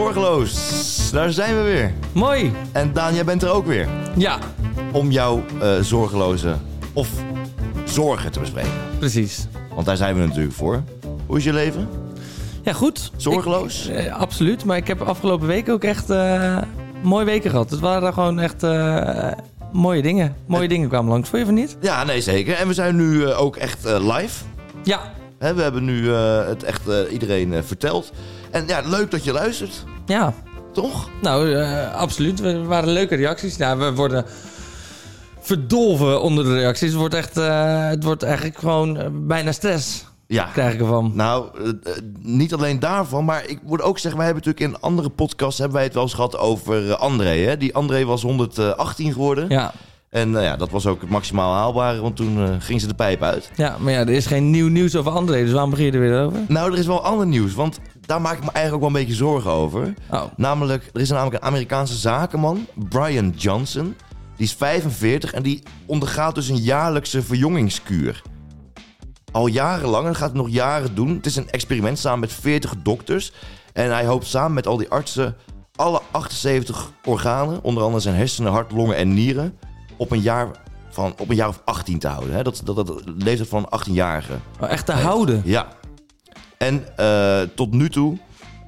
Roos, daar zijn we weer. Mooi. En Daan, jij bent er ook weer. Ja, Om jouw eh, zorgeloze of zorgen te bespreken. precies. Want daar zijn we natuurlijk voor. Hoe is je leven? Ja, goed. Zorgeloos? Ik- eh, absoluut. Maar ik heb afgelopen week ook echt eh, mooie weken gehad. Het waren gewoon echt eh, mooie dingen. Mooie dingen kwamen langs. Vond je van niet? Ja, nee zeker. En we zijn nu eh, ook echt eh, live. Ja. Hè, we hebben nu eh, het echt eh, iedereen eh, verteld. En ja, leuk dat je luistert, Ja. toch? Nou, eh, absoluut. We- Er waren leuke reacties. Nou, we worden verdolven onder de reacties. Het wordt, echt, eh, het wordt eigenlijk gewoon eh, bijna stress. Ja. Krijg ik ervan. Nou, eh, eh, niet alleen daarvan, maar ik moet ook zeggen, wij hebben natuurlijk in andere podcasts hebben wij het wel eens gehad over eh, André. Hè? Die André was 118 geworden. Ja. En nou ja, dat was ook het maximaal haalbare, want toen eh, ging ze de pijp uit. ja, maar ja, er is geen nieuw nieuws over André. Dus waarom begin je er weer over? Nou, er is wel ander nieuws, want daar maak ik me eigenlijk ook wel een beetje zorgen over. Oh, Namelijk, er is namelijk een Amerikaanse zakenman, Brian Johnson. Die is 45 en die ondergaat dus een jaarlijkse verjongingskuur. Al jarenlang, en dat gaat het nog jaren doen. Het is een experiment samen met 40 dokters. En hij hoopt samen met al die artsen alle 78 organen, onder andere zijn hersenen, hart, longen en nieren, op een jaar, van, op een jaar of 18 te houden. Hè? Dat, dat, dat de leeftijd van een 18-jarige. Oh, echt te houden. Ja. En eh, tot nu toe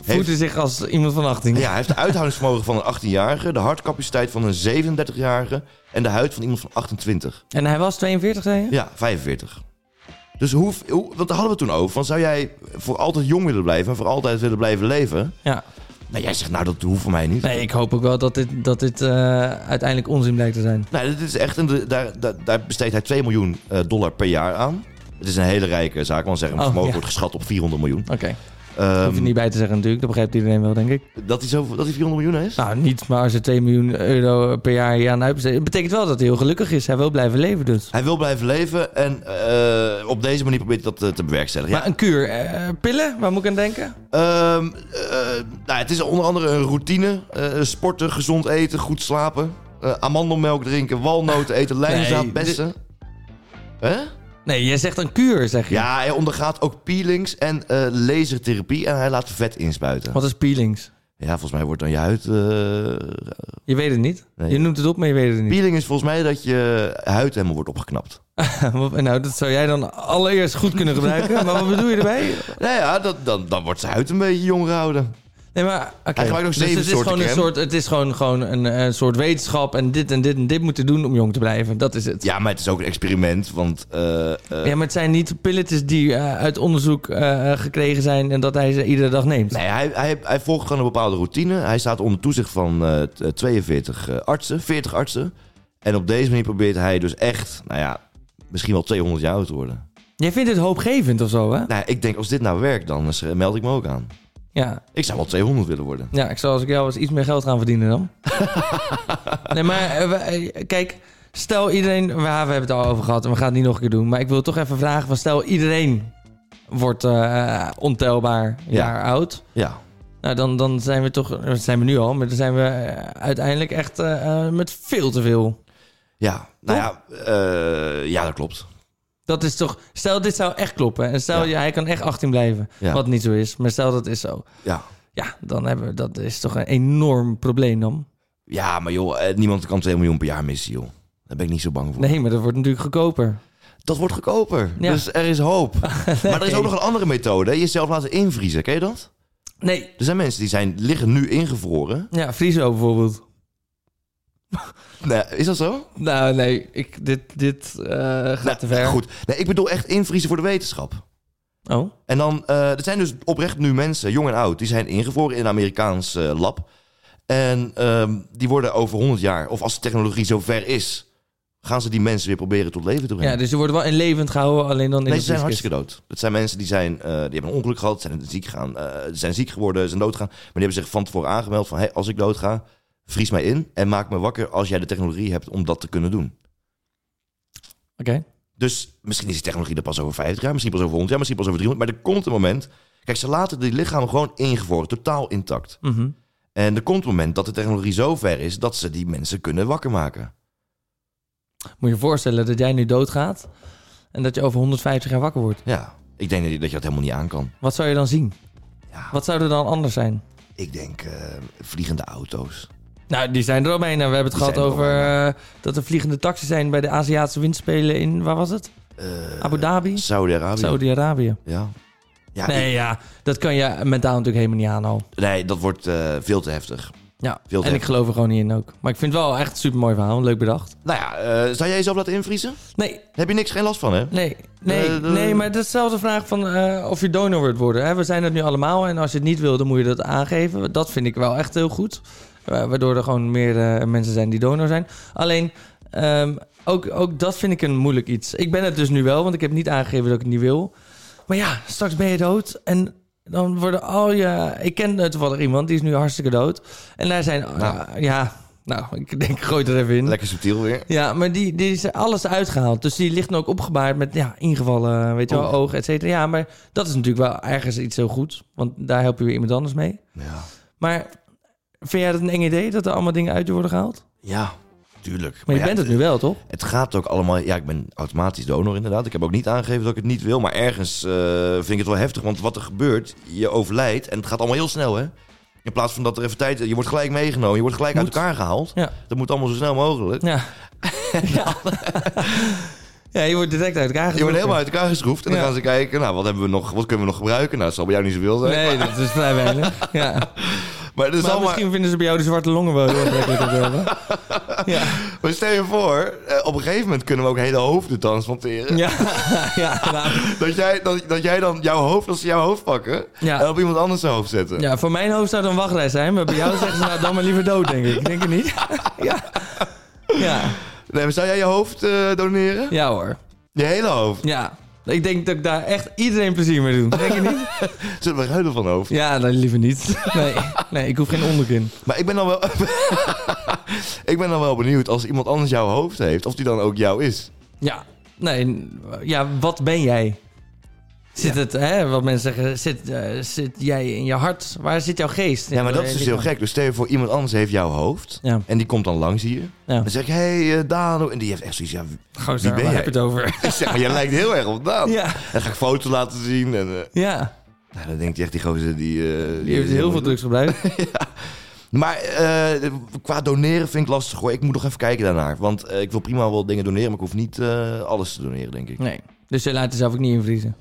heeft- Voelde zich als iemand van 18. ja, hij heeft het uithoudingsvermogen van een 18-jarige, de hartcapaciteit van een 37-jarige en de huid van iemand van 28. En hij was 42, zei je? Ja, 45. Dus hoe, hoe, want daar hadden we het toen over. Van, zou jij voor altijd jong willen blijven en voor altijd willen blijven leven? Ja. Nou, jij zegt, nou, dat hoeft voor mij niet. Nee, ik hoop ook wel dat dit, dat dit eh, uiteindelijk onzin blijkt te zijn. Nou, dit is echt, een, de- daar, daar, daar besteedt hij 2 miljoen eh, dollar per jaar aan. Het is een hele rijke zaak, want zeggen, Oh, vermogen ja. wordt geschat op 400 miljoen. Oké. Hoef je Ehm, niet bij te zeggen natuurlijk, dat begrijpt iedereen wel, denk ik. dat, hij zo, dat hij 400 miljoen is? Nou, niet, maar als je 2 miljoen euro per jaar hier aan uitbesteedt... Het betekent wel dat hij heel gelukkig is. Hij wil blijven leven dus. Hij wil blijven leven en eh, op deze manier probeert hij dat eh, te bewerkstelligen. Ja, Maar een kuur, eh, pillen, waar moet ik aan denken? Ehm, eh, nou, het is onder andere een routine. Eh, sporten, gezond eten, goed slapen. eh, amandelmelk drinken, walnoten eten, lijnzaad, Nee, bessen. Hè? Nee, jij zegt een kuur, zeg je. Ja, hij ondergaat ook peelings en eh, lasertherapie. En hij laat vet inspuiten. Wat is peelings? Ja, volgens mij wordt dan je huid... eh, Je weet het niet. Nee. Je noemt het op, maar je weet het niet. Peeling is volgens mij dat je huid helemaal wordt opgeknapt. nou, dat zou jij dan allereerst goed kunnen gebruiken. maar wat bedoel je erbij? Nou ja, dat, dan, dan wordt zijn huid een beetje jong gehouden. Nee, maar oké. Dus Hij gebruikt ook zeven het is soorten gewoon een crème. soort, Het is gewoon, gewoon een, eh, soort wetenschap en dit en dit en dit moeten doen om jong te blijven. Dat is het. Ja, maar het is ook een experiment, want... eh, eh, Ja, maar het zijn niet pilletjes die eh, uit onderzoek eh, gekregen zijn en dat hij ze iedere dag neemt. Nee, hij, hij, hij volgt gewoon een bepaalde routine. Hij staat onder toezicht van eh, t- eh, 42 eh, artsen, 40 artsen. En op deze manier probeert hij dus echt, nou ja, misschien wel 200 jaar oud te worden. Jij vindt het hoopgevend of zo, hè? Nou, ik denk, als dit nou werkt, dan is- meld ik me ook aan. Ja. Ik zou wel 200 willen worden. ja, ik zou als ik jou was iets meer geld gaan verdienen dan. nee, maar eh, we- eh, kijk, stel iedereen... Ja, we hebben het al over gehad en we gaan het niet nog een keer doen. Maar ik wil toch even vragen van stel iedereen wordt eh, ontelbaar jaar oud... Ja. Nou, dan, dan zijn we toch, dat zijn we nu al, maar dan zijn we eh, uiteindelijk echt eh, eh, met veel te veel. Ja, nou ja, eh, ja, dat klopt. Dat is toch, stel dit zou echt kloppen en stel Ja. ja, hij kan echt 18 blijven, Ja. wat niet zo is, maar stel dat is zo. Ja. Ja, dan hebben we, dat is toch een enorm probleem dan. Ja, maar joh, eh, niemand kan 2 miljoen per jaar missen, joh. Daar ben ik niet zo bang voor. Nee, maar dat wordt natuurlijk goedkoper. Dat wordt goedkoper. Ja. Dus er is hoop. Maar er is ook nog een andere methode. hè. Jezelf laten invriezen, ken je dat? Nee, Er zijn mensen die zijn, liggen nu ingevroren. ja, Friso bijvoorbeeld. Nou, is dat zo? Nou, nee, ik, dit, dit eh, gaat Nou, te ver. Goed. Nee, ik bedoel echt invriezen voor de wetenschap. Oh, En dan, eh, er zijn dus oprecht nu mensen, jong en oud, die zijn ingevroren in een Amerikaans eh, lab. En ehm, die worden over 100 jaar, of als de technologie zo ver is, gaan ze die mensen weer proberen tot leven te brengen. ja, dus ze worden wel in levend gehouden, alleen dan in Nee, de ze zijn vrieskist. hartstikke dood. Het zijn mensen die, zijn, eh, die hebben een ongeluk gehad, zijn ziek, gaan, eh, zijn ziek geworden, zijn doodgaan. Maar die hebben zich van tevoren aangemeld van... Hey, als ik dood ga, vries mij in en maak me wakker als jij de technologie hebt om dat te kunnen doen. Oké, Dus misschien is die technologie er pas over 50 jaar, misschien pas over 100 jaar, misschien pas over 300. Maar er komt een moment... Kijk, ze laten die lichamen gewoon ingevroren, totaal intact. Mhm. En er komt een moment dat de technologie zo ver is dat ze die mensen kunnen wakker maken. moet je je voorstellen dat jij nu doodgaat en dat je over 150 jaar wakker wordt. Ja, ik denk dat je dat, je dat helemaal niet aan kan. Wat zou je dan zien? Ja. Wat zou er dan anders zijn? Ik denk eh, vliegende auto's. Nou, die zijn er al mee. Nou, we hebben het Die gehad zijn er al over eh, dat er vliegende taxis zijn bij de Aziatische windspelen in, waar was het? Eh, Abu Dhabi? Saudi-Arabië. Saudi-Arabië. Ja. Ja, nee, ik- ja, dat kan je mentaal natuurlijk helemaal niet aan al. nee, dat wordt eh, veel te heftig. Ja, Veel te en ik heftig. geloof er gewoon niet in ook. Maar ik vind het wel echt een super mooi verhaal, leuk bedacht. Nou ja, eh, zou jij jezelf laten invriezen? Nee, Heb je niks, geen last van, hè? nee, nee, Eh, eh. nee, maar dat is dezelfde vraag van eh, of je donor wilt worden. Hè? We zijn dat nu allemaal en als je het niet wil, dan moet je dat aangeven. Dat vind ik wel echt heel goed. Wa- waardoor er gewoon meer eh, mensen zijn die donor zijn. Alleen, ehm, ook, ook dat vind ik een moeilijk iets. Ik ben het dus nu wel, want ik heb niet aangegeven dat ik het niet wil. Maar ja, straks ben je dood en dan worden al je... Ik ken eh, toevallig iemand, die is nu hartstikke dood. En daar zijn... Nou. eh, ja, nou, ik denk, ik gooi het er even in. Lekker subtiel weer. Ja, maar die, die is er alles uitgehaald. Dus die ligt nu ook opgebaard met ja, ingevallen, weet je wel, Oh. ogen, et cetera. Ja, maar dat is natuurlijk wel ergens iets heel goed. Want daar help je weer iemand anders mee. Ja. Maar vind jij dat een eng idee dat er allemaal dingen uit je worden gehaald? Maar, Ja, tuurlijk. Maar, je ja, bent het nu wel, toch? Het gaat ook allemaal... Ja, ik ben automatisch donor inderdaad. Ik heb ook niet aangegeven dat ik het niet wil. Maar ergens eh, vind ik het wel heftig. Want wat er gebeurt, je overlijdt. En het gaat allemaal heel snel, hè? In plaats van dat er even tijd... Je wordt gelijk meegenomen. Je wordt gelijk uit Moet. elkaar gehaald. Ja. Dat moet allemaal zo snel mogelijk. Ja. ja. ja, je wordt direct uit elkaar Je wordt helemaal getrokken. uit elkaar geschroefd. En dan Ja. gaan ze kijken, nou, wat, hebben we nog, wat kunnen we nog gebruiken? Nou, dat zal bij jou niet zoveel zijn. Nee, dat is vrij weinig. Ja. Maar Maar, het is allemaal... misschien vinden ze bij jou de zwarte longen wel heel aantrekkelijk of zo, hè? Ja. maar stel je voor, eh, op een gegeven moment kunnen we ook hele hoofden transplanteren. Ja. Ja, nou, Dat, jij, dat, dat jij dan jouw hoofd, als ze jouw hoofd pakken, Ja. en op iemand anders zijn hoofd zetten. Ja, voor mijn hoofd zou het een wachtrij zijn, maar bij jou zeggen ze nou dan maar liever dood, denk ik. Denk je niet? ja. ja. Nee, maar zou jij je hoofd eh, doneren? Ja hoor. Je hele hoofd? Ja. Ik denk dat ik daar echt iedereen plezier mee doe. Denk je niet? Zullen we ruilen van hoofd? Ja, dan liever niet. Nee, nee ik hoef geen onderkin. Maar ik ben dan wel... ik ben dan wel benieuwd, als iemand anders jouw hoofd heeft, of die dan ook jou is. Ja. Nee, n- ja, wat ben jij? Zit het, hè, wat mensen zeggen, zit, eh, zit jij in je hart? Waar zit jouw geest? Ja, maar dat is dus heel gek. Dus stel je voor, iemand anders heeft jouw hoofd. eh, Ja. En die komt dan langs hier. Ja. Dan zeg ik, hé, hey, eh, Dano. En die heeft echt zoiets, ja... Gozer, Wie ben waar jij? Oh. heb je het over? Ik zeg, maar jij lijkt heel erg op Daan. ja. En dan ga ik foto's laten zien. En eh, Ja. nou, dan denkt hij echt, die gozer die... eh, Je hebt heel veel drugs gebruikt. Maar eh, qua doneren vind ik lastig hoor. Ik moet nog even kijken daarnaar. Want eh, ik wil prima wel dingen doneren, maar ik hoef niet eh, alles te doneren, denk ik. Nee. Dus je laat jezelf ook niet invriezen.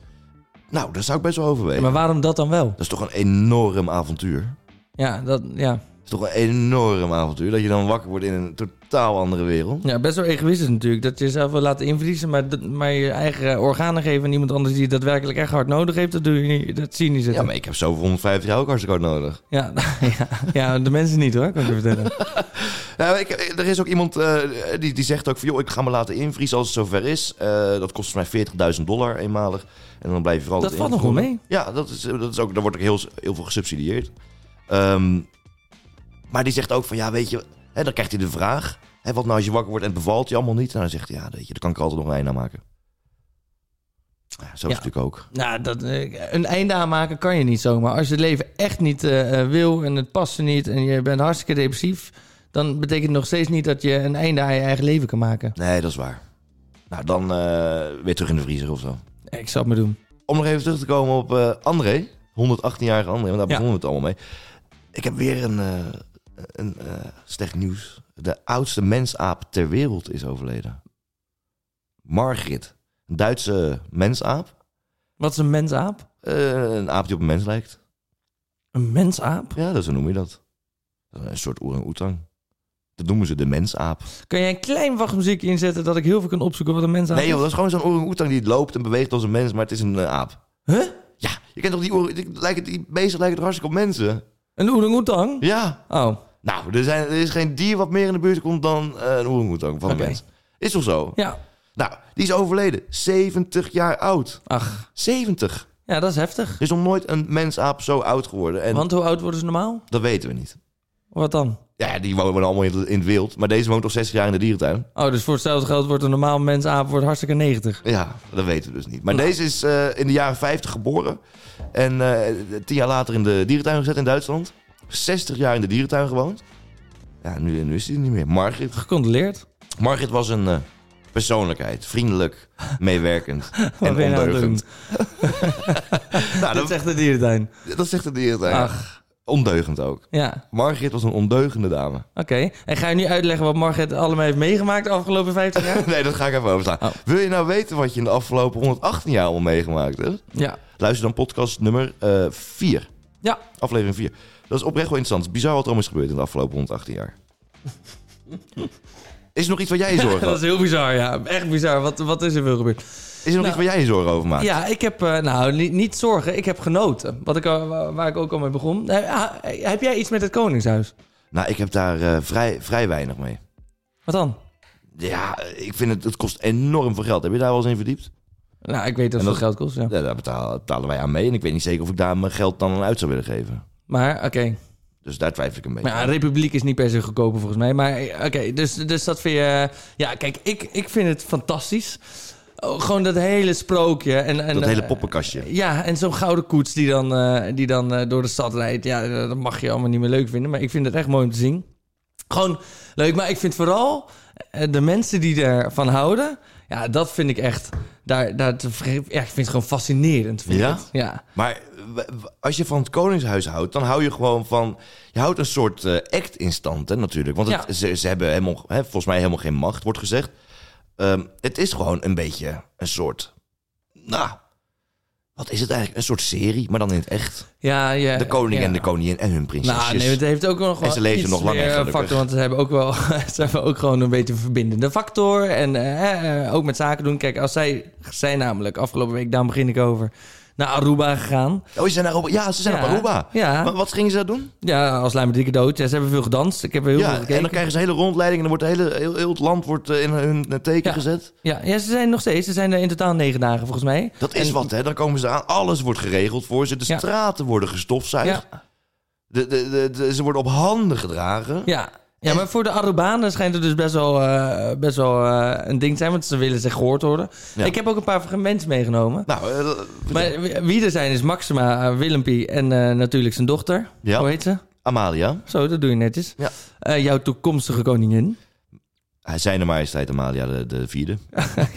Nou, daar zou ik best wel Ja, overwegen. maar waarom dat dan wel? Dat is toch een enorm avontuur. Ja, dat, ja. Dat is toch een enorm avontuur. Dat je dan wakker wordt in een totaal andere wereld. ja, best wel egoïstisch natuurlijk. Dat je jezelf wil laten invriezen, maar, dat- maar je eigen eh, organen geven aan iemand anders die het daadwerkelijk echt hard nodig heeft, dat, doe je niet, dat zie je niet Ja, zitten. maar ik heb zoveel 150 jaar ook hartstikke hard nodig. Ja, ja, ja, de mensen niet hoor, kan ik je vertellen. Nou, ik, er is ook iemand eh, die, die zegt ook van... joh, ik ga me laten invriezen als het zover is. Eh, dat kost mij 40.000 dollar eenmalig. En dan blijf je vooral... Dat het valt nog wel invroren. mee. Ja, dat is, dat is ook, daar wordt ook heel, heel veel gesubsidieerd. Ehm, maar die zegt ook van, ja, weet je, hè, dan krijgt hij de vraag... Hè, wat nou als je wakker wordt en het bevalt je allemaal niet? En dan zegt hij, ja, weet je, daar kan ik altijd nog een einde aan maken. Ja, zo is het natuurlijk ook. Nou, dat, eh, een einde aanmaken kan je niet zomaar. Als je het leven echt niet eh, eh, wil en het past er niet en je bent hartstikke depressief, dan betekent het nog steeds niet dat je een einde aan je eigen leven kan maken. Nee, dat is waar. Nou, dan eh, weer terug in de vriezer of zo. Ik zal het maar doen. Om nog even terug te komen op eh, André, 118-jarige André, want daar Ja. begonnen we het allemaal mee. Ik heb weer een, eh, een eh, slecht nieuws. De oudste mensaap ter wereld is overleden. Margrit, een Duitse mensaap. Wat is een mensaap? Eh, een aap die op een mens lijkt. Een mensaap? Ja, dat, zo noem je dat. Dat is Een soort orang-oetang. Dat noemen ze de mensaap. Kun jij een klein wachtmuziekje inzetten dat ik heel veel kan opzoeken wat een mensaap Nee is? joh, dat is gewoon zo'n orang-oetang die loopt en beweegt als een mens, maar het is een eh, aap. Huh? Ja, je kent toch die, orang- die, lijken- die beesten lijken toch hartstikke op mensen? Een oerang-oetang? Ja. Oh, Nou, er, zijn, er is geen dier wat meer in de buurt komt dan eh, een orang-oetang van Oké. een mens. Is toch zo? ja. Nou, die is overleden. 70 jaar oud. Ach, 70. ja, dat is heftig. Er is nog nooit een mensaap zo oud geworden. En Want hoe oud worden ze normaal? dat weten we niet. Wat dan? Ja, die wonen allemaal in het, in het wild. Maar deze woont al 60 jaar in de dierentuin. Oh, dus voor hetzelfde geld wordt een normaal mensaap wordt hartstikke 90. Ja, dat weten we dus niet. Nou. Maar deze is eh, in de jaren 50 geboren. En eh, tien jaar later in de dierentuin gezet in Duitsland. 60 jaar in de dierentuin gewoond. Ja, nu, nu is hij er niet meer. Margit. Gecondoleerd. Margit was een eh, persoonlijkheid. Vriendelijk, meewerkend en Wat ben je nou aan het doen? ondeugend. Nou, Dat dat, zegt de dierentuin. dat zegt de dierentuin. Ach, ondeugend ook. Ja, Margit was een ondeugende dame. oké. En ga je nu uitleggen wat Margret allemaal heeft meegemaakt de afgelopen 15 jaar? nee, dat ga ik even overslaan. Oh. Wil je nou weten wat je in de afgelopen 118 jaar allemaal meegemaakt hebt? ja. Luister dan podcast nummer 4. Ja. Aflevering 4. Dat is oprecht wel interessant. Het is bizar wat er allemaal is gebeurd in de afgelopen 118 jaar. is er nog iets waar jij je zorgen Dat is over heel bizar, ja. Echt bizar. Wat, wat is er veel gebeurd? Is er nog Nou. iets waar jij je zorgen over maakt? Ja, ik heb, eh, nou, niet, niet zorgen. Ik heb genoten. Wat ik, al- wa- waar ik ook al mee begon. Eh, ah, eh, heb jij iets met het Koningshuis? Nou, ik heb daar eh, vrij, vrij weinig mee. Wat dan? Ja, eh, ik vind het, het kost enorm veel geld. Heb je daar wel eens in verdiept? Nou, ik weet dat het dat- veel geld kost, ja. Ja, daar betalen, betalen wij aan mee. En ik weet niet zeker of ik daar mijn geld dan aan uit zou willen geven. Maar, oké. Dus daar twijfel ik een beetje Maar ja, aan. Republiek is niet per se goedkoper volgens mij. Maar eh, oké, dus, dus dat vind je... Ja, kijk, ik, ik vind het fantastisch. Oh, gewoon dat hele sprookje. En, en, Dat hele eh, poppenkastje. Ja, en zo'n gouden koets die dan, eh, die dan eh, door de stad rijdt. Ja, eh, dat mag je allemaal niet meer leuk vinden. Maar ik vind het echt mooi om te zien. Gewoon leuk. Maar ik vind vooral eh, de mensen die ervan houden. Ja, dat vind ik echt. Daar, daar, te verge- ja, ik vind het gewoon fascinerend. Vind ik Ja? het. ja. Maar w- w- als je van het Koningshuis houdt, dan hou je gewoon van. Je houdt een soort eh, act in stand, hè, natuurlijk. Want het- Ja. ze, ze hebben helemaal, hè, volgens mij helemaal geen macht, wordt gezegd. Ehm, het is gewoon een beetje een soort. Nou, wat is het eigenlijk? Een soort serie, maar dan in het echt. Ja, ja, De koning Eh, ja. en de koningin en hun prinsesjes. Nou, nee, het heeft ook nog wel En ze leven iets nog langer, meer eh, gelukkig. factor, want ze hebben ook wel, ze hebben ook gewoon een beetje een verbindende factor en eh, eh, ook met zaken doen. Kijk, als zij zijn namelijk afgelopen week, daar begin ik over, naar Aruba gegaan. Oh, ze zijn naar Aruba. Ja, ze zijn Ja, naar Aruba. ja. Maar wat gingen ze daar doen? Ja, als lijm dikke dood. Ja, ze hebben veel gedanst. Ik heb er heel veel Ja, gekeken. en dan krijgen ze een hele rondleiding en dan wordt het hele, heel, heel het land wordt eh, in hun eh, teken Ja. gezet. ja, ja, ze zijn nog steeds. Ze zijn er in totaal negen dagen volgens mij. Dat is En- wat, hè? Dan komen ze aan. Alles wordt geregeld voor ze. De Ja. straten worden gestofzuigd. De, de, de, de- ze worden op handen gedragen. Ja. Ja, maar voor de Arubanen schijnt het dus best wel, eh, best wel eh, een ding te zijn, want ze willen zich gehoord worden. Ja. Ik heb ook een paar mensen meegenomen. Nou, eh, Maar wie- wie er zijn is Maxima, eh, Willempie en eh, natuurlijk zijn dochter. Ja. Hoe heet ze? Amalia. Zo, dat doe je netjes. Ja. Eh, jouw toekomstige koningin. Hij Zijne majesteit Amalia, de, de vierde.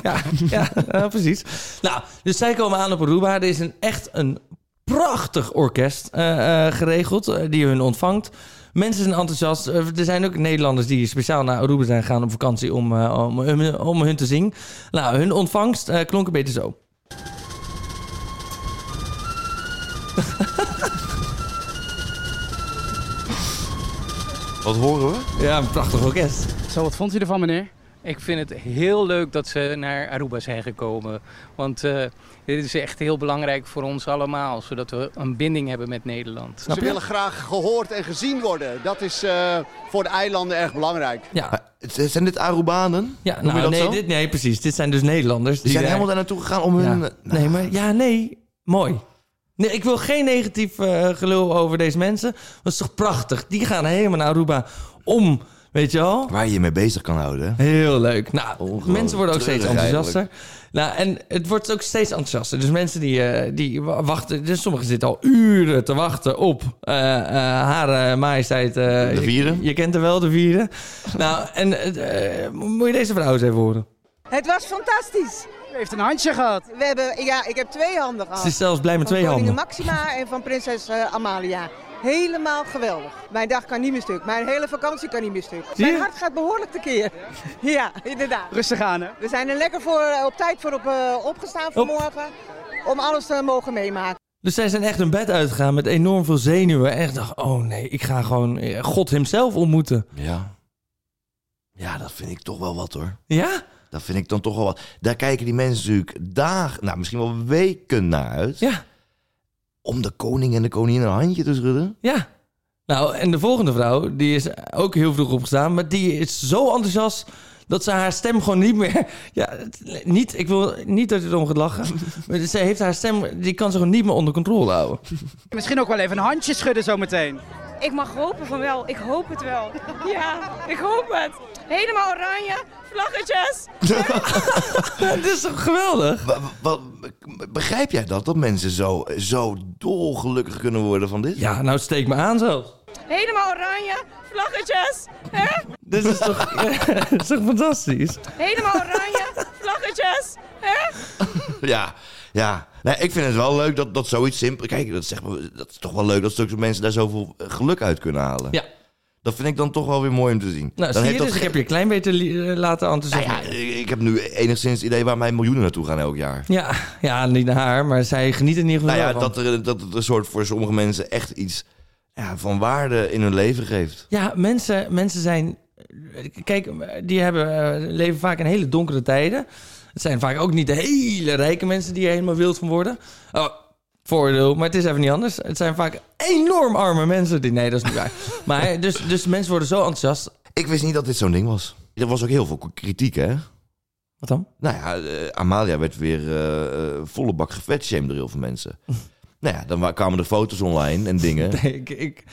ja, ja eh, precies. Nou, dus zij komen aan op Aruba. Er is een, echt een prachtig orkest eh, eh, geregeld eh, die hun ontvangt. Mensen zijn enthousiast. Eh, er zijn ook Nederlanders die speciaal naar Aruba zijn gegaan op vakantie om, eh, om, hun- om hun te zien. Nou, hun ontvangst eh, klonk een beetje zo. Wat horen we? Ja, een prachtig orkest. Zo, wat vond u ervan, meneer? Ik vind het heel leuk dat ze naar Aruba zijn gekomen. Want eh, dit is echt heel belangrijk voor ons allemaal, zodat we een binding hebben met Nederland. Snap Ze je? willen graag gehoord en gezien worden. Dat is eh, voor de eilanden erg belangrijk. Ja, Maar, het- zijn dit Arubanen? ja Noem je nou, dat nee, zo? dit, nee, precies. Dit zijn dus Nederlanders. Die zijn daar- helemaal daar naartoe gegaan om Ja. hun... Nou, Nee, maar ja, nee. Mooi. Nee, ik wil geen negatief eh, gelul over deze mensen. Dat is toch prachtig? Die gaan helemaal naar Aruba om, weet je wel? Waar je je mee bezig kan houden. hè? Heel leuk. Nou, Ongelooflijk. mensen worden ook Treurig steeds enthousiaster. Nou, en het wordt ook steeds enthousiaster. Dus mensen die, eh, die wa- wachten... Dus sommigen zitten al uren te wachten op eh eh, haar eh, majesteit... eh, De vierde. Je, je kent haar wel, de vierde. nou, en eh, eh, moet je deze vrouw eens even horen. Het was fantastisch. U heeft een handje gehad. We hebben, ja, ik heb twee handen gehad. Ze is zelfs blij met twee van koningin handen. Maxima en van prinses eh, Amalia. Helemaal geweldig. Mijn dag kan niet meer stuk. Mijn hele vakantie kan niet meer stuk. Zie je? Mijn hart gaat behoorlijk tekeer. Ja, inderdaad. Rustig aan, hè? We zijn er lekker voor, eh, op tijd voor op, eh, opgestaan vanmorgen. Om alles te mogen meemaken. Dus zij zijn echt hun bed uitgegaan met enorm veel zenuwen. En ik dacht, oh nee, ik ga gewoon eh, God hemzelf ontmoeten. Ja. Ja, dat vind ik toch wel wat, hoor. Ja? Dat vind ik dan toch wel wat. Daar kijken die mensen natuurlijk dagen, nou misschien wel weken naar uit. Ja, Om de koning en de koningin een handje te schudden. ja. Nou, en de volgende vrouw, die is ook heel vroeg opgestaan. Maar die is zo enthousiast dat ze haar stem gewoon niet meer... Ja, het- niet, ik wil niet dat je erom gaat lachen. Maar ze heeft haar stem, die kan ze gewoon niet meer onder controle houden. Misschien ook wel even een handje schudden zometeen. Ik mag hopen van wel. Ik hoop het wel. Ja, ik hoop het. Helemaal oranje, vlaggetjes. Het is toch geweldig? Wa- wa- wa- Begrijp jij dat? Dat mensen zo, zo dolgelukkig kunnen worden van dit? Ja, nou steek me aan zelfs. Helemaal oranje, vlaggetjes. hè? Dit is toch, dit is toch fantastisch? Helemaal oranje, vlaggetjes. hè? Ja, Ja, nee, ik vind het wel leuk dat, dat zoiets simpel... Kijk, dat, zeg maar, dat is toch wel leuk dat zulke mensen daar zoveel eh, geluk uit kunnen halen. Ja. Dat vind ik dan toch wel weer mooi om te zien. dan Nou, zie je heeft dus, dat ik heb je een klein beetje li- eh, laten Nou enthousiasmeren. ja, ik ik heb nu enigszins het idee waar mijn miljoenen naartoe gaan elk jaar. ja. Ja, niet naar haar, maar zij geniet er niet ieder Nou geval ja, van. dat, er, dat het een soort voor sommige mensen echt iets ja, van waarde in hun leven geeft. Ja, mensen, mensen zijn... Kijk, die hebben, eh, leven vaak in hele donkere tijden. Het zijn vaak ook niet de hele rijke mensen die er helemaal wild van worden. Oh, voordeel, maar het is even niet anders. Het zijn vaak enorm arme mensen. Die, nee, dat is niet waar. maar dus, dus mensen worden zo enthousiast. Ik wist niet dat dit zo'n ding was. Er was ook heel veel k- kritiek, hè? Wat dan? Nou ja, eh, Amalia werd weer eh, eh, volle bak gefatshamed door heel veel mensen. nou ja, dan wa- kwamen er foto's online en dingen. Nee, ik, ik,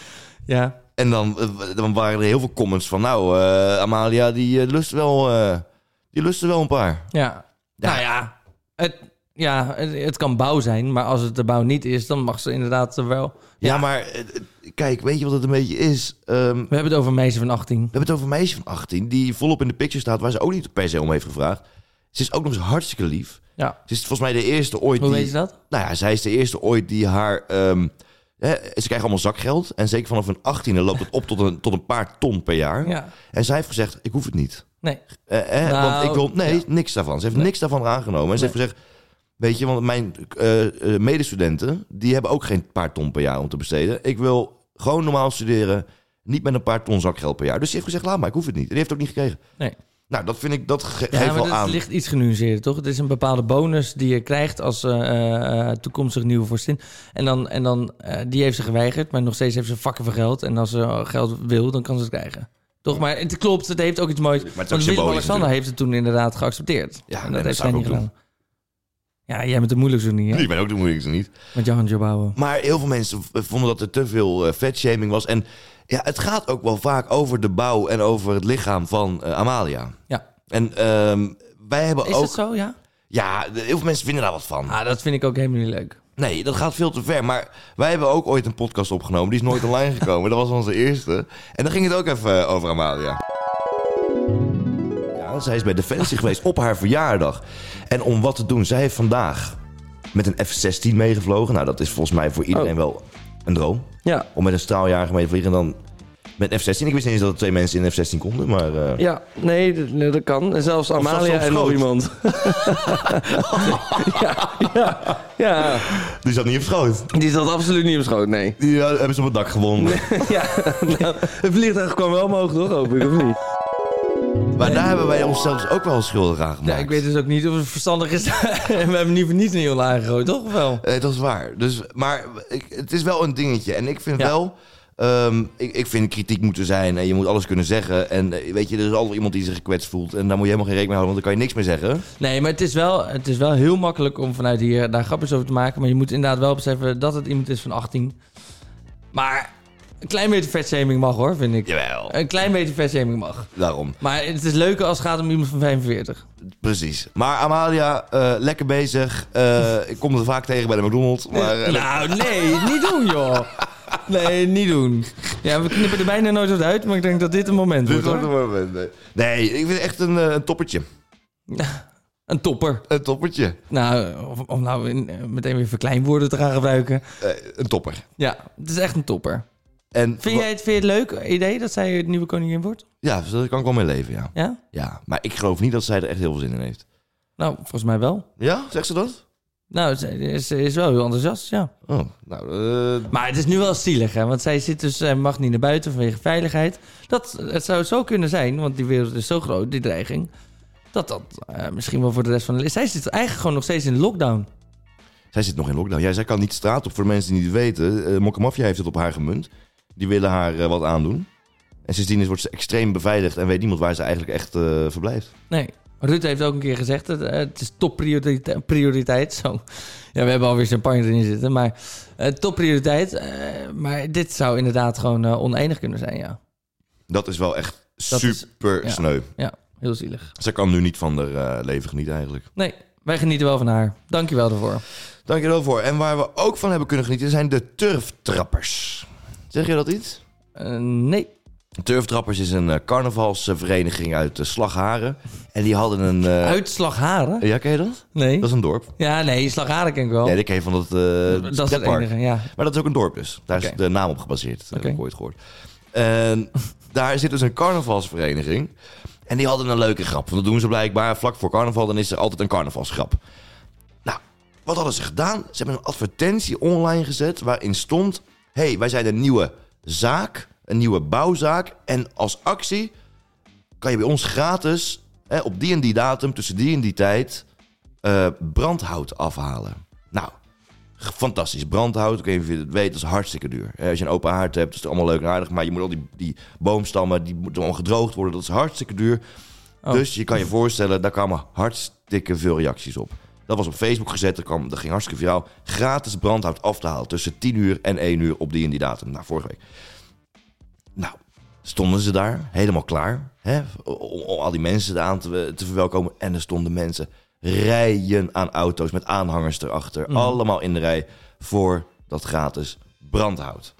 ja. En dan, eh, dan waren er heel veel comments van... Nou, eh, Amalia, die eh, lust wel... eh, die lust er wel een paar. Ja. Ja. Nou ja, het, ja het, het kan bouw zijn, maar als het de bouw niet is, dan mag ze inderdaad er wel. Ja, maar eh, kijk, weet je wat het een beetje is? Ehm, We hebben het over meisje van 18. We hebben het over een meisje van 18 die volop in de picture staat, waar ze ook niet per se om heeft gevraagd. Ze is ook nog eens hartstikke lief. Ja. Ze is volgens mij de eerste ooit Hoe die. weet je dat? Nou ja, zij is de eerste ooit die haar. ehm, hè, ze krijgen allemaal zakgeld. En zeker vanaf hun 18e loopt het op tot een, tot een paar ton per jaar. Ja. En zij heeft gezegd: Ik hoef het niet. Nee. Eh, hè, Nou, want ik wil. Nee, ja. niks daarvan. Ze heeft niks daarvan aangenomen. En ze heeft gezegd. Weet je, want mijn eh, eh, medestudenten, die hebben ook geen paar ton per jaar om te besteden. Ik wil gewoon normaal studeren, niet met een paar ton zakgeld per jaar. Dus ze heeft gezegd, laat maar, ik hoef het niet. En die heeft het ook niet gekregen. Nee. Nou, dat vind ik, dat ge- Ja, geeft maar wel het aan. ligt iets genuanceerder, toch? Het is een bepaalde bonus die je krijgt als eh, eh, eh, toekomstig nieuwe vorstin. En, dan, en dan, eh, die heeft ze geweigerd, maar nog steeds heeft ze vakken van geld. En als ze geld wil, dan kan ze het krijgen. Toch? Maar het klopt, het heeft ook iets moois. Maar het is ook Want symbolisch Willem-Alexander natuurlijk. heeft het toen inderdaad geaccepteerd. Ja, en dat nee, dat heeft zou zij ik niet ook doen. gedaan. Ja, jij bent de moeilijkste niet, hè? Ik ben ook de moeilijkste niet. Met Johan Jobouwen. Maar heel veel mensen v- vonden dat er te veel eh, vetshaming was. En ja, het gaat ook wel vaak over de bouw en over het lichaam van eh, Amalia. Ja. En ehm, wij hebben Is ook... dat zo, ja? Ja, de- heel veel mensen vinden daar wat van. Ah, dat vind ik ook helemaal niet leuk. Nee, dat gaat veel te ver. Maar wij hebben ook ooit een podcast opgenomen. Die is nooit online gekomen. Dat was onze eerste. En dan ging het ook even eh, over Amalia. Ja, zij is bij Defensie geweest op haar verjaardag. En om wat te doen, zij heeft vandaag met een F-16 meegevlogen. Nou, dat is volgens mij voor iedereen Oh. wel een droom. Ja. Om met een straaljager mee te vliegen en dan met een F-16. Ik wist niet eens dat er twee mensen in een F-16 konden, maar... eh, Ja, nee, dat, nee, dat kan. En zelfs dat Amalia ze op en nog schoot. iemand. ja, ja, Die zat niet op schoot. ja, die zat absoluut niet op schoot, nee. Die eh, hebben ze op het dak gewonnen. ja, nou, het vliegtuig kwam wel omhoog, toch, hoop ik, of niet? Maar daar hebben wij onszelf dus ook wel schuldig aan gemaakt. Ja, ik weet dus ook niet of het verstandig is. we hebben niet voor niets een heel laag gegooid, toch? Of wel? Eh, dat is waar. Dus, maar ik, het is wel een dingetje. En ik vind Ja. wel... ehm, ik, ik vind kritiek moeten zijn en je moet alles kunnen zeggen. En eh, weet je, er is altijd iemand die zich gekwetst voelt. En daar moet je helemaal geen rekening mee houden, want dan kan je niks meer zeggen. Nee, maar het is, wel, het is wel heel makkelijk om vanuit hier daar grapjes over te maken. Maar je moet inderdaad wel beseffen dat het iemand is van 18. Maar een klein beetje vetshaming mag, hoor, vind ik. Jawel. Een klein beetje vetshaming mag. Daarom. Maar het is leuker als het gaat om iemand van 45. Precies. Maar Amalia, eh, lekker bezig. Eh, ik kom er vaak tegen bij de McDonald's. Maar, eh, nou, nee, niet doen, joh. Nee, niet doen. Ja, we knippen er bijna nooit wat uit, maar ik denk dat dit een moment dit wordt. wordt hoor. het moment. Nee. Nee, ik vind het echt een, eh, een toppertje. Een topper. Een toppertje. Nou, of, of nou in- eh, meteen weer verkleinwoorden te gaan gebruiken. Eh, een topper. Ja, het is echt een topper. En, Vind jij het, vind je het leuk eh, idee dat zij het nieuwe koningin wordt? Ja, daar kan ik wel mee leven, ja. Ja? ja. Maar ik geloof niet dat zij er echt heel veel zin in heeft. Nou, volgens mij wel. Ja, zegt ze dat? Nou, ze ze is wel heel enthousiast, ja. Oh, nou, eh, Maar het is nu wel zielig, hè? Want zij zit dus, eh, mag niet naar buiten vanwege veiligheid. Dat, het zou zo kunnen zijn, want die wereld is zo groot, die dreiging. Dat dat eh, misschien wel voor de rest van de... li- Zij zit eigenlijk gewoon nog steeds in lockdown. zij zit nog in lockdown. Ja, zij kan niet de straat op, voor de mensen die niet weten. Eh Mokke Mafia heeft het op haar gemunt. Die willen haar eh, wat aandoen. En sindsdien is, wordt ze extreem beveiligd en weet niemand waar ze eigenlijk echt eh, verblijft. Nee. Rutte heeft ook een keer gezegd, dat, eh, het is topprioriteit. Prioriteit, zo. Ja, we hebben alweer champagne erin zitten, maar eh, topprioriteit. eh, maar dit zou inderdaad gewoon eh, oneenig kunnen zijn, ja. Dat is wel echt Dat is- super ja. sneu. Ja, heel zielig. Zij kan nu niet van haar eh, leven genieten eigenlijk. Nee, wij genieten wel van haar. Dankjewel daarvoor. Dankjewel voor. En waar we ook van hebben kunnen genieten zijn de turftrappers. Zeg je dat iets? Eh, nee. Turftrappers is een eh, carnavalsvereniging uit eh, Slagharen. En die hadden een... eh, Uit Slagharen? Ja, ken je dat? Nee. Dat is een dorp. Ja, nee, Slagharen ken ik wel. Nee, dat ken je van dat, eh Oh. dat is het pretpark. enige, ja. Maar dat is ook een dorp dus. Daar Oké. is de naam op gebaseerd. Dat Oké. heb ik ooit gehoord. En daar zit dus een carnavalsvereniging. En die hadden een leuke grap. Want dat doen ze blijkbaar vlak voor carnaval. Dan is er altijd een carnavalsgrap. Nou, wat hadden ze gedaan? Ze hebben een advertentie online gezet waarin stond... hey, wij zijn een nieuwe zaak. Een nieuwe bouwzaak. En als actie kan je bij ons gratis... Hè, op die en die datum, tussen die en die tijd... eh, brandhout afhalen. Nou, fantastisch. Brandhout, ik weet niet of je het weet, dat is hartstikke duur. Eh, Als je een open haard hebt, is het allemaal leuk en aardig. Maar je moet al die, die boomstammen, die moeten allemaal gedroogd worden. Dat is hartstikke duur. Oh. Dus je kan je voorstellen, daar kwamen hartstikke veel reacties op. Dat was op Facebook gezet, er, kwam, er ging hartstikke viraal. Gratis brandhout af te halen tussen 10 uur en 1 uur op die en die datum. Nou, vorige week. Nou, stonden ze daar, helemaal klaar. Hè, om, om al die mensen aan te, te verwelkomen. En er stonden mensen rijen aan auto's met aanhangers erachter. Allemaal in de rij voor dat gratis brandhout.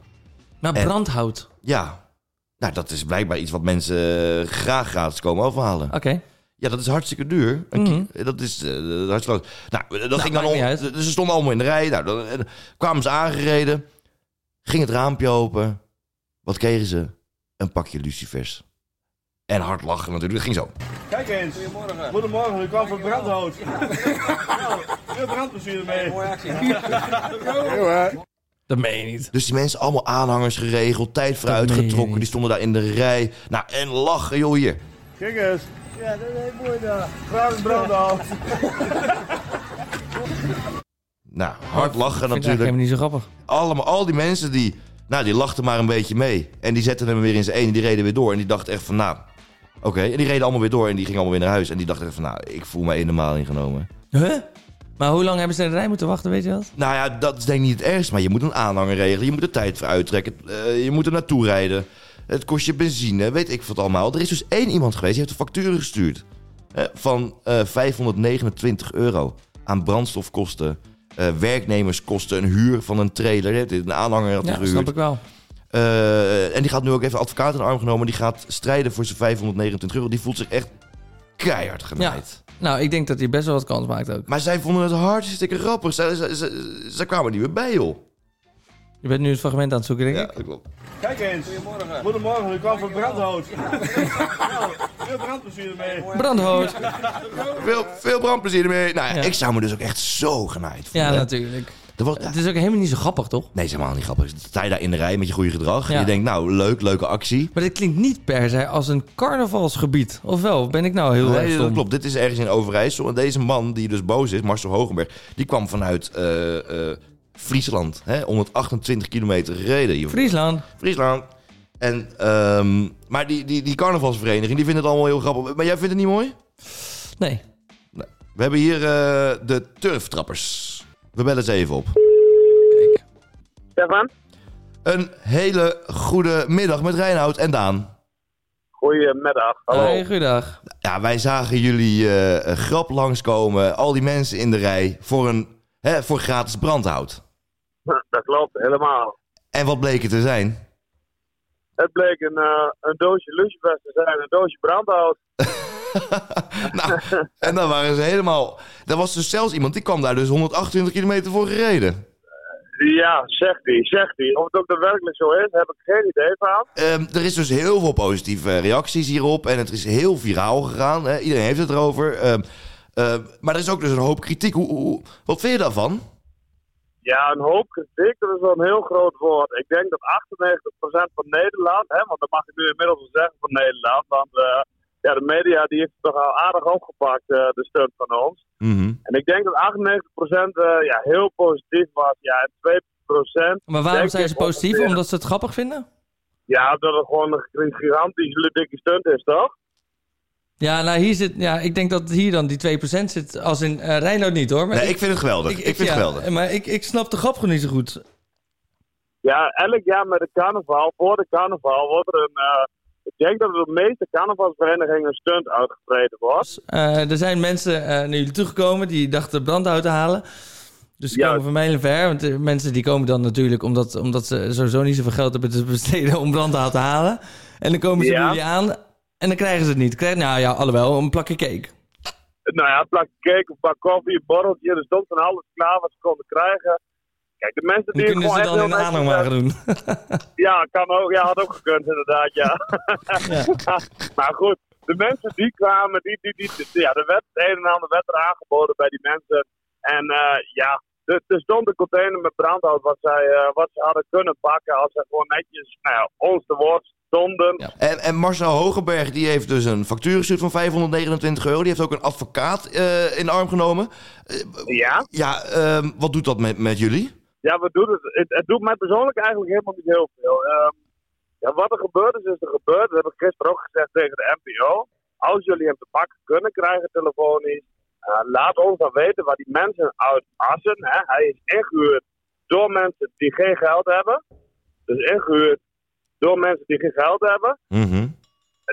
Naar En- brandhout. Ja, nou, dat is blijkbaar iets wat mensen eh, graag gratis komen afhalen. Oké. Ja, dat is hartstikke duur. Een ki- Dat is eh, hartstikke... loos. Nou, eh, dat ging dan Mhm. maakt om. niet uit. Dus ze stonden allemaal in de rij. Nou, dan, eh, kwamen ze aangereden. Ging het raampje open. Wat kregen ze? Een pakje lucifers. En hard lachen natuurlijk. Het ging zo. Kijk eens. Goedemorgen. Goedemorgen, u kwam voor brandhout. Veel brandplezier mee. Dat meen je niet. Dus die mensen allemaal aanhangers geregeld. Tijd vooruit meen je getrokken. niet. Die stonden daar in de rij. Nou, en lachen joh hier. Kijk eens. Ja, dat is heel mooi daar. Graag brandhout. Nou, hard lachen Dat vind ik eigenlijk natuurlijk. helemaal niet zo grappig. allemaal, al die mensen die, nou, die lachten maar een beetje mee. En die zetten hem weer in zijn een en die reden weer door. En die dachten echt van, nou, oké. En die reden allemaal weer door en die gingen allemaal weer naar huis. En die dachten echt van, nou, ik voel me helemaal ingenomen. Huh? Maar hoe lang hebben ze in de rij moeten wachten, weet je dat? Nou ja, dat is denk ik niet het ergste. Maar je moet een aanhanger regelen. Je moet de tijd voor uittrekken. eh, je moet er naartoe rijden. Het kost je benzine, weet ik wat allemaal. Er is dus één iemand geweest, die heeft een factuur gestuurd. eh, van eh, 529 euro aan brandstofkosten. eh, werknemerskosten, een huur van een trailer. hè, Een aanhanger had hij Ja, gehuurd. snap ik wel. Eh, en die gaat nu ook even advocaat in de arm genomen. Die gaat strijden voor zijn 529 euro. Die voelt zich echt keihard genaaid. Nou, ik denk dat hij best wel wat kans maakt ook. Maar zij vonden het hartstikke grappig. Zij, zij, zij, zij kwamen er niet meer bij, joh. Je bent nu het fragment aan het zoeken, denk ik. dat klopt. Kijk eens. Goedemorgen. Goedemorgen, u kwam voor brandhout. Veel brandplezier mee. Brandhout. Veel, veel brandplezier ermee. Nou ja, Ja. ik zou me dus ook echt zo genaaid voelen. Ja, hè. natuurlijk. Dat was, Het is ook helemaal niet zo grappig, toch? Nee, is helemaal niet grappig. Sta je daar in de rij met je goede gedrag. En Ja. je denkt, nou, leuk, leuke actie. Maar dit klinkt niet per se als een carnavalsgebied. Of wel? Ben ik nou heel erg Nee, stom? dat klopt. Dit is ergens in Overijssel. En deze man die dus boos is, Marcel Hogenberg, die kwam vanuit eh, eh, Friesland. Hè, 128 kilometer gereden. hier. Friesland. Friesland. En, ehm, maar die, die, die carnavalsvereniging, die vindt het allemaal heel grappig. Maar jij vindt het niet mooi? Nee. We hebben hier eh, de turftrappers. We bellen ze even op. Kijk. Stefan? Een hele goede middag met Reinoud en Daan. Goedemiddag. Hallo. Hey, goeiedag. Ja, wij zagen jullie eh, een grap langskomen. Al die mensen in de rij voor, een, hè, voor gratis brandhout. Dat klopt, helemaal. En wat bleek het te zijn? Het bleek een, eh, een doosje lucifers te zijn, een doosje brandhout. nou, en dan waren ze helemaal... Er was dus zelfs iemand, die kwam daar dus 128 kilometer voor gereden. Ja, zegt hij, zegt hij. Of het ook daadwerkelijk zo is, heb ik geen idee van. Ehm, er is dus heel veel positieve reacties hierop. En het is heel viraal gegaan. Hè? Iedereen heeft het erover. Ehm, ehm, maar er is ook dus een hoop kritiek. Hoe, hoe- hoe- wat vind je daarvan? Ja, een hoop kritiek, dat is wel een heel groot woord. Ik denk dat 98% van Nederland, hè, want dat mag ik nu inmiddels wel zeggen van Nederland, want eh, ja, de media die heeft het toch al aardig opgepakt, eh, de stunt van ons. Mhm. En ik denk dat 98% eh, ja, heel positief was. Ja, en 2%. Maar waarom denk zijn ik ze positief? ongeveer- Omdat ze het grappig vinden? Ja, dat het gewoon een gigantisch dikke stunt is, toch? Ja, nou hier zit... Ja, ik denk dat hier dan die 2% zit. Als in eh Reinoud niet, hoor. Maar Nee, ik vind het geweldig. Ik, vind ja, het geweldig. Maar ik, ik snap de grap gewoon niet zo goed. Ja, elk jaar met de carnaval, voor de carnaval, wordt er een... eh, ik denk dat er de meeste carnavalsverenigingen een stunt uitgetreden wordt. Eh, er zijn mensen eh, naar jullie toegekomen die dachten brandhout te halen. Dus ze Ja. komen van mijlen ver. Want de mensen die komen dan natuurlijk omdat, omdat ze sowieso niet zoveel geld hebben te besteden om brandhout te halen. En dan komen ze Ja. bij jullie aan en dan krijgen ze het niet. Krijgen, nou ja, alhoewel, een plakje cake. Nou ja, een plakje cake, een bak koffie, een borreltje. Er stond van alles klaar wat ze konden krijgen. Kijk, de mensen Dan die kunnen ze gewoon dan in echt de heel netjes aanhangwagen doen. Ja, kan ook. Ja, had ook gekund inderdaad, ja. maar goed, de mensen die kwamen, die, die, die, die- ja, de werd, het een en ander werd er aangeboden bij die mensen. En eh, ja, er, er stond een container met brandhout wat, zij, eh, wat ze hadden kunnen pakken als ze gewoon netjes nou, ja, ons te woord stonden. En, en Marcel Hogenberg die heeft dus een factuur gestuurd van 529 euro. Die heeft ook een advocaat eh, in de arm genomen. Ja, Ja, ehm, wat doet dat met, met jullie? ja we doen het. het. Het doet mij persoonlijk eigenlijk helemaal niet heel veel. Ehm, ja, wat er gebeurd is, is er gebeurd. Dat heb ik gisteren ook gezegd tegen de NPO. Als jullie hem te pakken kunnen krijgen telefonisch, eh, laat ons dan weten waar die mensen uit assen. Hè. Hij is ingehuurd door mensen die geen geld hebben. Dus ingehuurd door mensen die geen geld hebben. Mhm.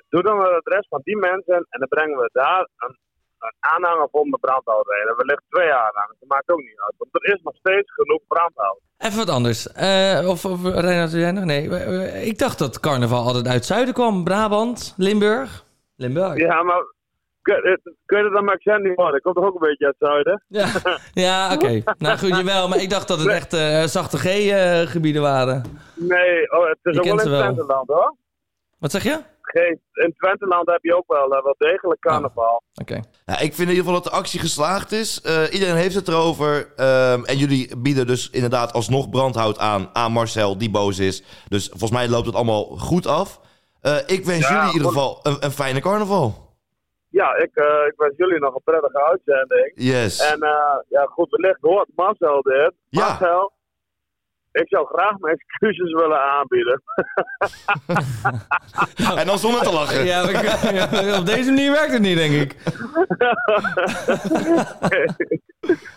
Doe dan het adres van die mensen en dan brengen we daar een, een aanhanger voor met brandhout heen. En wellicht twee aanhangers, dat maakt ook niet uit. Want er is nog steeds genoeg brandhout. Even wat anders. Eh, of of Reinhard, wil jij nog? Nee. eh, eh, Ik dacht dat carnaval altijd uit Zuiden kwam. Brabant, Limburg. Limburg. Ja, maar kun, eh, kun je dat dan maar niet worden? Ik kom toch ook een beetje uit het zuiden? Ja, ja oké. Nou goed, jawel. Maar ik dacht dat het echt eh, zachte G-gebieden waren. Nee, oh, het is Je kent ook wel in ze wel. Twenteland hoor. Wat zeg je? Oké. Geen, in Twenteland heb je ook wel, eh, wel degelijk carnaval. Nou, ik vind in ieder geval dat de actie geslaagd is. Eh, iedereen heeft het erover. Ehm, en jullie bieden dus inderdaad alsnog brandhout aan aan Marcel, die boos is. Dus volgens mij loopt het allemaal goed af. Eh, ik wens Ja, jullie in ieder goed. geval een, een fijne carnaval. Ja, ik, eh, ik wens jullie nog een prettige uitzending. Yes. En eh, ja, goed, wellicht hoort Marcel dit. Ja. Marcel, ik zou graag mijn excuses willen aanbieden. En dan zonder te lachen. Ja, maar ik- ja, op deze manier werkt het niet, denk ik.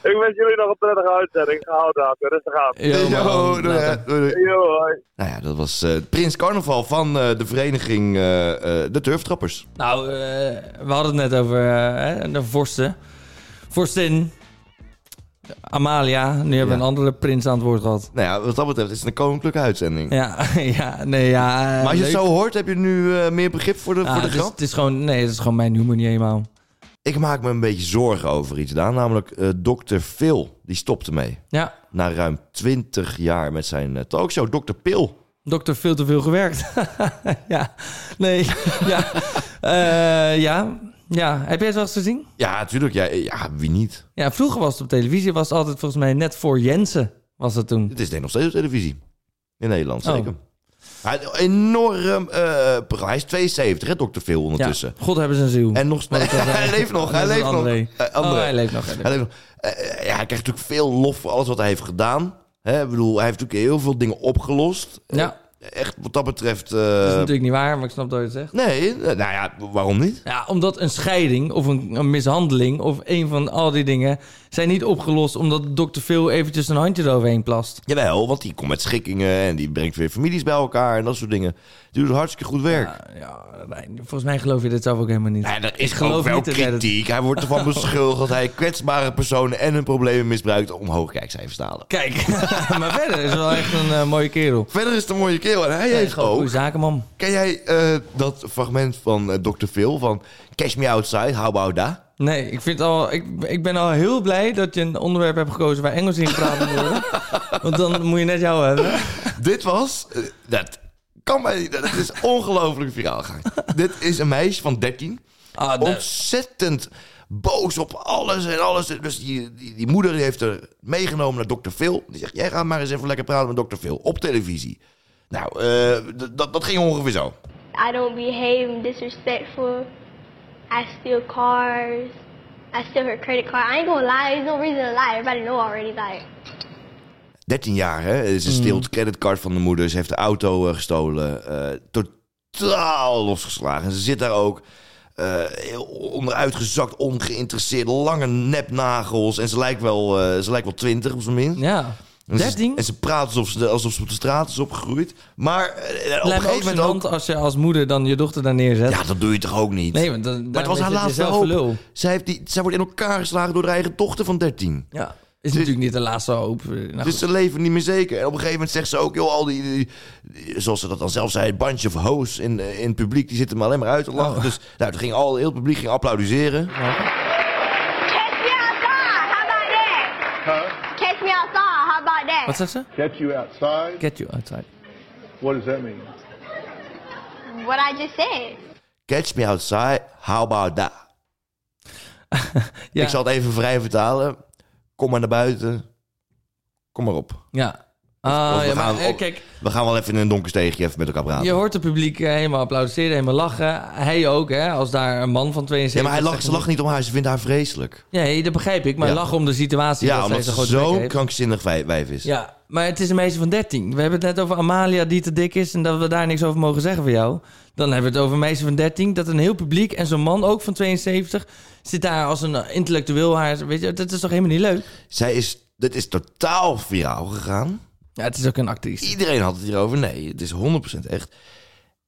Ik wens jullie nog een prettige uitzending. Hou daar, rustig aan. Yo, man. Yo, doei, Later. hè. Doei, doei. Yo, hoi. Nou ja, dat was eh, Prins Carnaval van eh, de vereniging eh, eh, De Turftrappers. Nou, eh, we hadden het net over eh, hè, de vorsten. Vorstin. Amalia. Nu hebben we Ja. een andere prins aan het woord gehad. Nou ja, wat dat betreft is het een koninklijke uitzending. Ja, ja, nee, ja. Maar eh, als je leuk. het zo hoort, heb je nu eh, meer begrip voor de, Ah, voor de het, is, grap? het is gewoon, nee, het is gewoon mijn humor niet helemaal. Ik maak me een beetje zorgen over iets, Daan. Namelijk eh Dr. Phil, die stopte mee. Ja, Na ruim 20 jaar met zijn eh, talkshow, Dr. Pil. dokter veel te veel gewerkt. ja, nee, ja. Eh, ja, ja. Heb jij het wel eens gezien? Ja, natuurlijk. Ja, eh, ja, wie niet? Ja, vroeger was het op televisie, was het altijd volgens mij net voor Jensen was het toen. Het is denk ik nog steeds op televisie. In Nederland, Oh. zeker. Hij had een enorm... eh, programma. hij is 72, hè, Dr. Phil, ondertussen. Ja, God hebben zijn ziel. En nog... Want dat was hij eigenlijk- leeft nog, dat hij is leeft een nog. André. Eh, André. Oh, hij leeft nog. hij leeft Hij heeft- eh, eh, ja, hij krijgt natuurlijk veel lof voor alles wat hij heeft gedaan. Hè, ik bedoel, hij heeft natuurlijk heel veel dingen opgelost. nog. Ja, Dus Eh, Echt, wat dat betreft... eh, dat is natuurlijk niet waar, maar ik snap dat je het zegt. nee, eh, nou ja, waarom niet? Ja, omdat een scheiding of een, een mishandeling of een van al die dingen zijn niet opgelost omdat dokter Phil eventjes een handje eroverheen plast. Jawel, want die komt met schikkingen en die brengt weer families bij elkaar en dat soort dingen. Die doet hartstikke goed werk. Ja, ja, nee, volgens mij geloof je dit zelf ook helemaal niet. Nou, er is Ik geloof ook wel niet dat hij dat- kritiek. Hij wordt ervan beschuldigd dat hij kwetsbare personen en hun problemen misbruikt om hoogkijkcijfers te halen. Kijk, maar verder is wel echt een eh, mooie kerel. Verder is het een mooie kerel en hij heeft Gewoon ook... goede zakenman. Ken jij eh, dat fragment van eh, Dr. Phil van Cash Me Outside, How About That? Nee, ik, vind al, ik, ik ben al heel blij dat je een onderwerp hebt gekozen waar Engels in gepraat moet worden. Want dan moet je net jou hebben. Dit was. eh, dat kan mij niet. Dat is ongelooflijk viraal gegaan. Dit is een meisje van 13. Ah, nee. Ontzettend boos op alles en alles. Dus die, die, die moeder die heeft haar meegenomen naar Dr. Phil. Die zegt: Jij gaat maar eens even lekker praten met Dr. Phil op televisie. Nou, eh, d- dat, dat ging ongeveer zo. I don't behave and disrespectful. I steal cars. I steal her credit card. I ain't gonna lie. There's no reason to lie. Everybody know already. Like, 13 jaar, hè? Mm. Ze steelt het creditcard van de moeder. Ze heeft de auto eh, gestolen. eh, totaal losgeslagen. En ze zit daar ook eh, heel onderuitgezakt, ongeïnteresseerd. Lange nepnagels. En ze lijkt wel, eh, ze lijkt wel 20 op zijn minst. Ja, En ze- 13? En ze praat alsof ze, alsof ze op de straat is opgegroeid. Maar eh, op een Lijkt me gegeven ook moment ook... gênant als je als moeder dan je dochter daar neerzet. Ja, dat doe je toch ook niet? Nee, want dan, maar het was haar laatste hoop. lul. Zij, heeft die, zij wordt in elkaar geslagen door haar eigen dochter van 13. Ja. Is natuurlijk niet de laatste hoop. Eh, nou dus goed. ze leven niet meer zeker. En op een gegeven moment zegt ze ook, joh, al die, die- die- zoals ze dat dan zelf zei, het bandje of hoes in, eh, in het publiek, die zitten me alleen maar uit te Oh. lachen. Dus nou, het ging al, heel het publiek ging applaudisseren. Catch me outside. How about that? Catch me outside. How about that? Wat zegt ze? Catch you outside. Get you outside. What does that mean? What I just said. Catch me outside, how about that? Ik zal het even vrij vertalen. Kom maar naar buiten. Kom maar op. Ja. Of Ah, we Oh, ja, gaan maar eh, op- kijk, We gaan wel even in een donker steegje even met elkaar praten. je hoort het publiek eh, helemaal applaudisseren, helemaal lachen. Hij ook, hè, als daar een man van 72... Ja, maar hij lacht, zegt, ze lacht niet om haar, ze vindt haar vreselijk. Nee, dat begrijp ik, maar Ja. lach om de situatie. Ja, dat zij omdat zo'n ze grote bek zo'n heeft. krankzinnig wij- wijf is. Ja, maar het is een meisje van 13. We hebben het net over Amalia die te dik is en dat we daar niks over mogen zeggen voor jou. Dan hebben we het over een meisje van 13, dat een heel publiek en zo'n man ook van 72 zit daar als een eh, intellectueel haar. Weet je, dat is toch helemaal niet leuk? Zij is, dit is totaal viraal gegaan. Ja, het is ook een actrice. Iedereen had het hierover. Nee, het is 100% echt.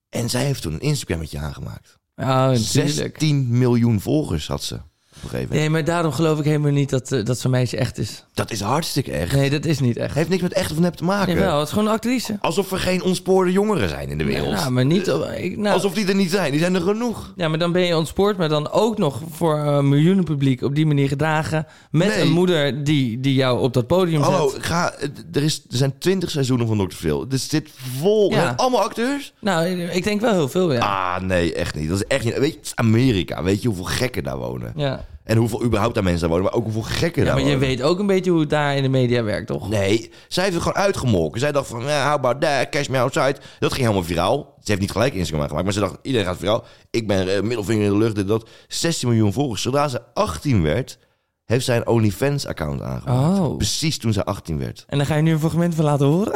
En zij heeft toen een Instagrammetje aangemaakt. Ja, natuurlijk. 16 miljoen volgers had ze op een gegeven moment. Nee, maar daarom geloof ik helemaal niet dat, eh, dat zo'n meisje echt is. Dat is hartstikke echt. Nee, dat is niet echt. Heeft niks met echt of nep te maken. Jawel, het is gewoon een actrice. Alsof er geen ontspoorde jongeren zijn in de wereld. Ja, maar niet... op- Ik, nou, Alsof die er niet zijn. Die zijn er genoeg. Ja, maar dan ben je ontspoord, maar dan ook nog voor een miljoenen publiek op die manier gedragen. Met Nee. een moeder die, die jou op dat podium zet. Hallo, ga, er, is, er zijn 20 seizoenen van Dr. Phil. Er zit vol. Ja. met Allemaal acteurs? Nou, ik denk wel heel veel, ja. Ah, nee, echt niet. Dat is echt niet. Weet je, het is Amerika. Weet je hoeveel gekken daar wonen? Ja, En hoeveel überhaupt daar mensen daar wonen, maar ook hoeveel gekken ja daar maar je wonen. weet ook een beetje hoe het daar in de media werkt, toch? Nee, zij heeft het gewoon uitgemolken. Zij dacht van, eh, how about that, cash me outside. Dat ging helemaal viraal. Ze heeft niet gelijk Instagram gemaakt, maar ze dacht, iedereen gaat viraal. Ik ben eh, middelvinger in de lucht, dit, dat. 16 miljoen volgers. Zodra ze 18 werd, heeft zij een OnlyFans-account aangemaakt. Oh. Precies toen ze 18 werd. En daar ga je nu een fragment van laten horen.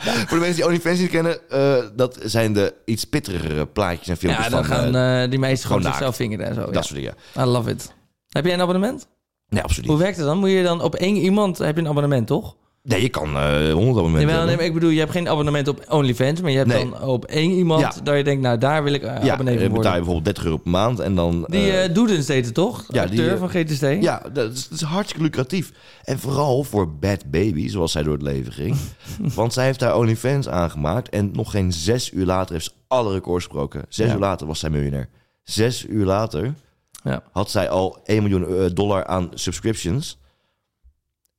Voor de mensen die OnlyFans niet kennen, eh, dat zijn de iets pittigere plaatjes en filmpjes Ja, dan van... gaan eh, eh, die meisjes gewoon gewoon naakt. zichzelf vingeren en zo. dat ja. soort dingen. I love it. Heb jij een abonnement? Nee, absoluut Hoe niet. werkt het dan? Moet je dan op één iemand... Heb je een abonnement, toch? Nee, je kan eh 100 Nee, abonnementen maar, hebben. nee, maar ik bedoel, je hebt geen abonnement op OnlyFans... maar je hebt Nee. dan op één iemand Ja. dat je denkt... nou, daar wil ik eh, Ja, abonnee eh, van betaal worden. je bijvoorbeeld 30 euro per maand en dan... Die eh, eh Doedens deed het, toch? Ja, Acteur die, eh, van GTSD. Ja, dat is, dat is hartstikke lucratief. En vooral voor Bad Baby, zoals zij door het leven ging. Want zij heeft haar OnlyFans aangemaakt. En nog geen zes uur later heeft ze alle records gebroken. Zes Ja. uur later was zij miljonair. Zes uur later Ja. had zij al 1 miljoen eh, dollar aan subscriptions.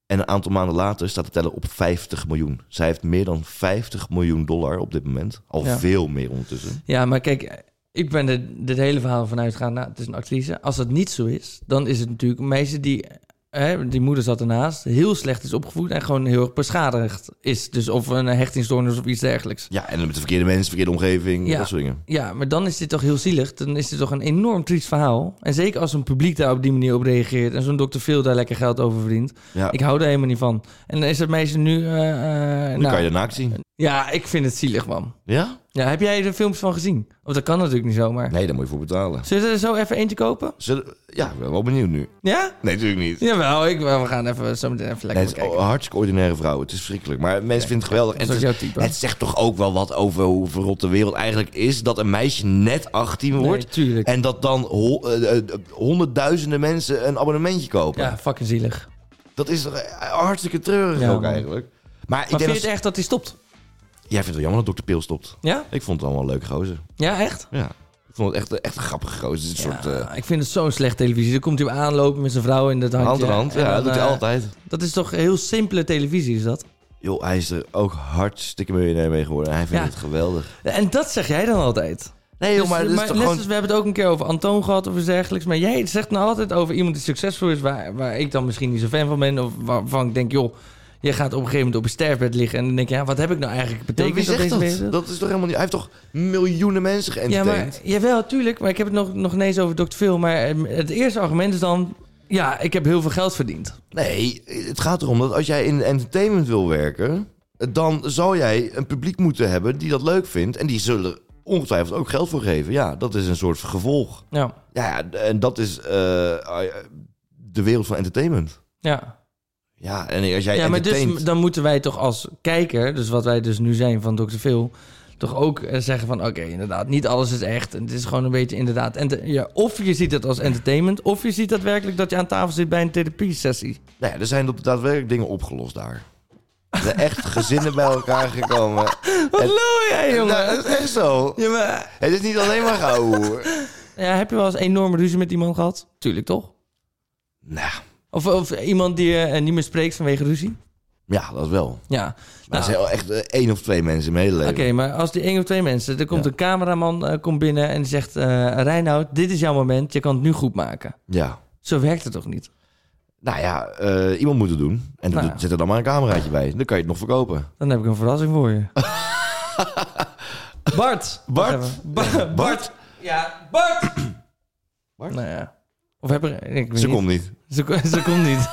En een aantal maanden later staat de teller op 50 miljoen. Zij heeft meer dan 50 miljoen dollar op dit moment. Al Ja. veel meer ondertussen. Ja, maar kijk, ik ben er dit hele verhaal van uitgegaan. Nou, het is een actrice. Als dat niet zo is, dan is het natuurlijk een meisje die, hè, die moeder zat ernaast, heel slecht is opgevoed en gewoon heel erg beschadigd is. Dus of een hechtingstoornis of iets dergelijks. Ja, en met de verkeerde mensen, verkeerde omgeving, Ja. dat soort dingen. Ja, maar dan is dit toch heel zielig. Dan is dit toch een enorm triest verhaal. En zeker als een publiek daar op die manier op reageert en zo'n dokter veel daar lekker geld over verdient. Ja. Ik hou daar helemaal niet van. En dan is dat meisje nu. eh, eh, nu nou, kan je de naakt zien. Ja, ik vind het zielig, man. Ja? Ja, heb jij er filmpjes van gezien? Of dat kan natuurlijk niet zomaar. Nee, daar moet je voor betalen. Zullen we er zo even eentje kopen? Zullen- ja, ik ben wel benieuwd nu. Ja? Nee, natuurlijk niet. Jawel, ik, we gaan even, zo meteen even Nee, lekker het is kijken. een hartstikke ordinaire vrouw. Het is verschrikkelijk. Maar mensen vinden het geweldig. En dat is het, jouw type. het zegt toch ook wel wat over hoe verrot de wereld eigenlijk is. Dat een meisje net 18 wordt. tuurlijk. en dat dan ho- eh, eh, honderdduizenden mensen een abonnementje kopen. Ja, fucking zielig. Dat is toch eh, hartstikke treurig Ja, ook man. eigenlijk. Maar ik Maar denk vind dat... je het echt dat hij stopt? Jij vindt het wel jammer dat Dr. Pil stopt. Ja? Ik vond het allemaal leuk gozer. Ja, echt? Ja. Ik vond het echt, echt een grappige gozer. Het is een soort... eh, Ik vind het zo'n slecht televisie. Dan komt hij aanlopen met zijn vrouw in dat handje. hand in hand. En Ja, dan, dat doet hij eh, altijd. Dat is toch heel simpele televisie, is dat? Joh, hij is er ook hartstikke miljonair mee geworden. Hij vindt Ja. het geweldig. En dat zeg jij dan altijd. Nee, joh, Dus, maar eh, dat is toch net gewoon... als we hebben het ook een keer over Antoon gehad of iets dergelijks. Maar jij zegt nou altijd over iemand die succesvol is, waar, waar ik dan misschien niet zo fan van ben. Of waarvan ik denk, joh, je gaat op een gegeven moment op een sterfbed liggen. En dan denk je, ja, wat heb ik nou eigenlijk Ja, maar betekend wie op zegt deze dat? wereld? Dat is toch helemaal niet... Hij heeft toch miljoenen mensen Ja, maar, geëntertained? jawel, tuurlijk. Maar ik heb het nog, nog ineens over Dr. Phil. Maar ehm, het eerste argument is dan... Ja, ik heb heel veel geld verdiend. Nee, het gaat erom dat als jij in entertainment wil werken... dan zal jij een publiek moeten hebben die dat leuk vindt... en die zullen er ongetwijfeld ook geld voor geven. Ja, dat is een soort gevolg. Ja, Ja, ja, en dat is eh, de wereld van entertainment. ja. Ja, en als jij ja maar entertaint... dus, dan moeten wij toch als kijker... Dus wat wij dus nu zijn van Dr. Phil... toch ook eh, zeggen van... oké, inderdaad, niet alles is echt. En Het is gewoon een beetje inderdaad... ente- ja, of je ziet het als entertainment... of je ziet daadwerkelijk dat je aan tafel zit bij een therapie-sessie. Nee, Nou er zijn op- daadwerkelijk dingen opgelost daar. Er zijn echt gezinnen bij elkaar gekomen. Wat lul jij, jongen? Nou, dat is echt zo. Ja, maar... Het is niet alleen maar gauw. Ja, heb je wel eens enorme ruzie met iemand gehad? Tuurlijk, toch? Nou, Of, of iemand die je eh, niet meer spreekt vanwege ruzie? ja, dat wel. Ja. Maar er Nou, zijn wel echt eh, één of twee mensen in mijn hele Oké, leven. maar als die één of twee mensen... Er komt Ja. een cameraman eh, komt binnen en die zegt... eh Reinoud, dit is jouw moment. Je kan het nu goed maken. Ja. Zo werkt het toch niet? Nou ja, eh, iemand moet het doen. En dan Nou ja. zet er dan maar een cameraatje bij. Dan kan je het nog verkopen. Dan heb ik een verrassing voor je. Bart! Bart? Wacht even. Ba- Bart! Ja, Bart! Bart? Nou ja. Of heb ik... ik weet Ze niet. komt niet. Ze, ko- ze komt niet.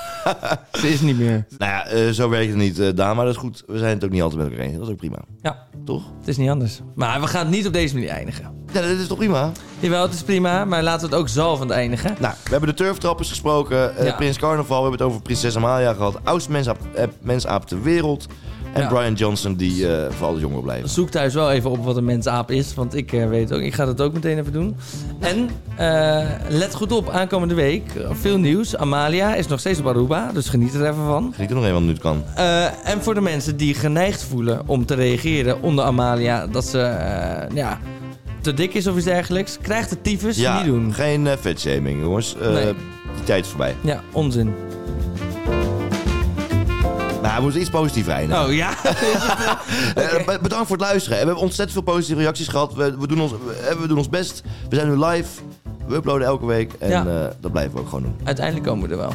ze is niet meer. Nou ja, eh, zo werkt het niet, eh Daan. Maar dat is goed. We zijn het ook niet altijd met elkaar eens. Dat is ook prima. Ja, Toch? het is niet anders. Maar we gaan het niet op deze manier eindigen. Ja, dat is toch prima? Jawel, het is prima, maar laten we het ook zalvend eindigen. Nou, we hebben de turftrappers gesproken. eh, Ja. Prins Carnaval. We hebben het over prinses Amalia gehad. Oudste mensaap, eh, mensaap ter wereld. En Ja. Brian Johnson, die eh, voor alle jongeren blijft. Zoek thuis wel even op wat een mensaap is, want ik eh, weet ook, ik ga dat ook meteen even doen. En eh, let goed op, aankomende week eh, veel nieuws. Amalia is nog steeds op Aruba, dus geniet er even van. Geniet er nog even nu het kan. Eh, en voor de mensen die geneigd voelen om te reageren onder Amalia dat ze eh, ja, te dik is of iets dergelijks, krijgt de tyfus ja, niet doen. geen eh, vetshaming, jongens. Eh, Nee. Die tijd is voorbij. Ja, onzin. Nou, we moeten iets positiefs eindigen. Oh ja. Eh, be- bedankt voor het luisteren. En We hebben ontzettend veel positieve reacties gehad. We, we, doen ons, we, we doen ons best. We zijn nu live. We uploaden elke week. En Ja. eh, dat blijven we ook gewoon doen. Uiteindelijk komen we er wel.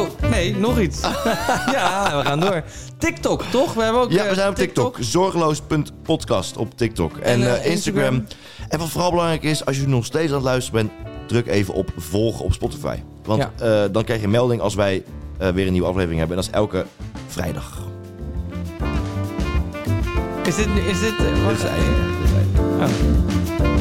Oh, nee, nog iets. ja, we gaan door. TikTok, toch? We hebben ook Ja, eh, we zijn op TikTok. Zorgeloos.podcast op TikTok. En, eh, eh, Instagram. En wat vooral belangrijk is, als je nog steeds aan het luisteren bent, druk even op volgen op Spotify. Want eh, dan krijg je een melding als wij eh, weer een nieuwe aflevering hebben. En dat is elke vrijdag. Is dit... Is dit eh, Dit wacht, eh, is het einde. Dit is het einde. oh.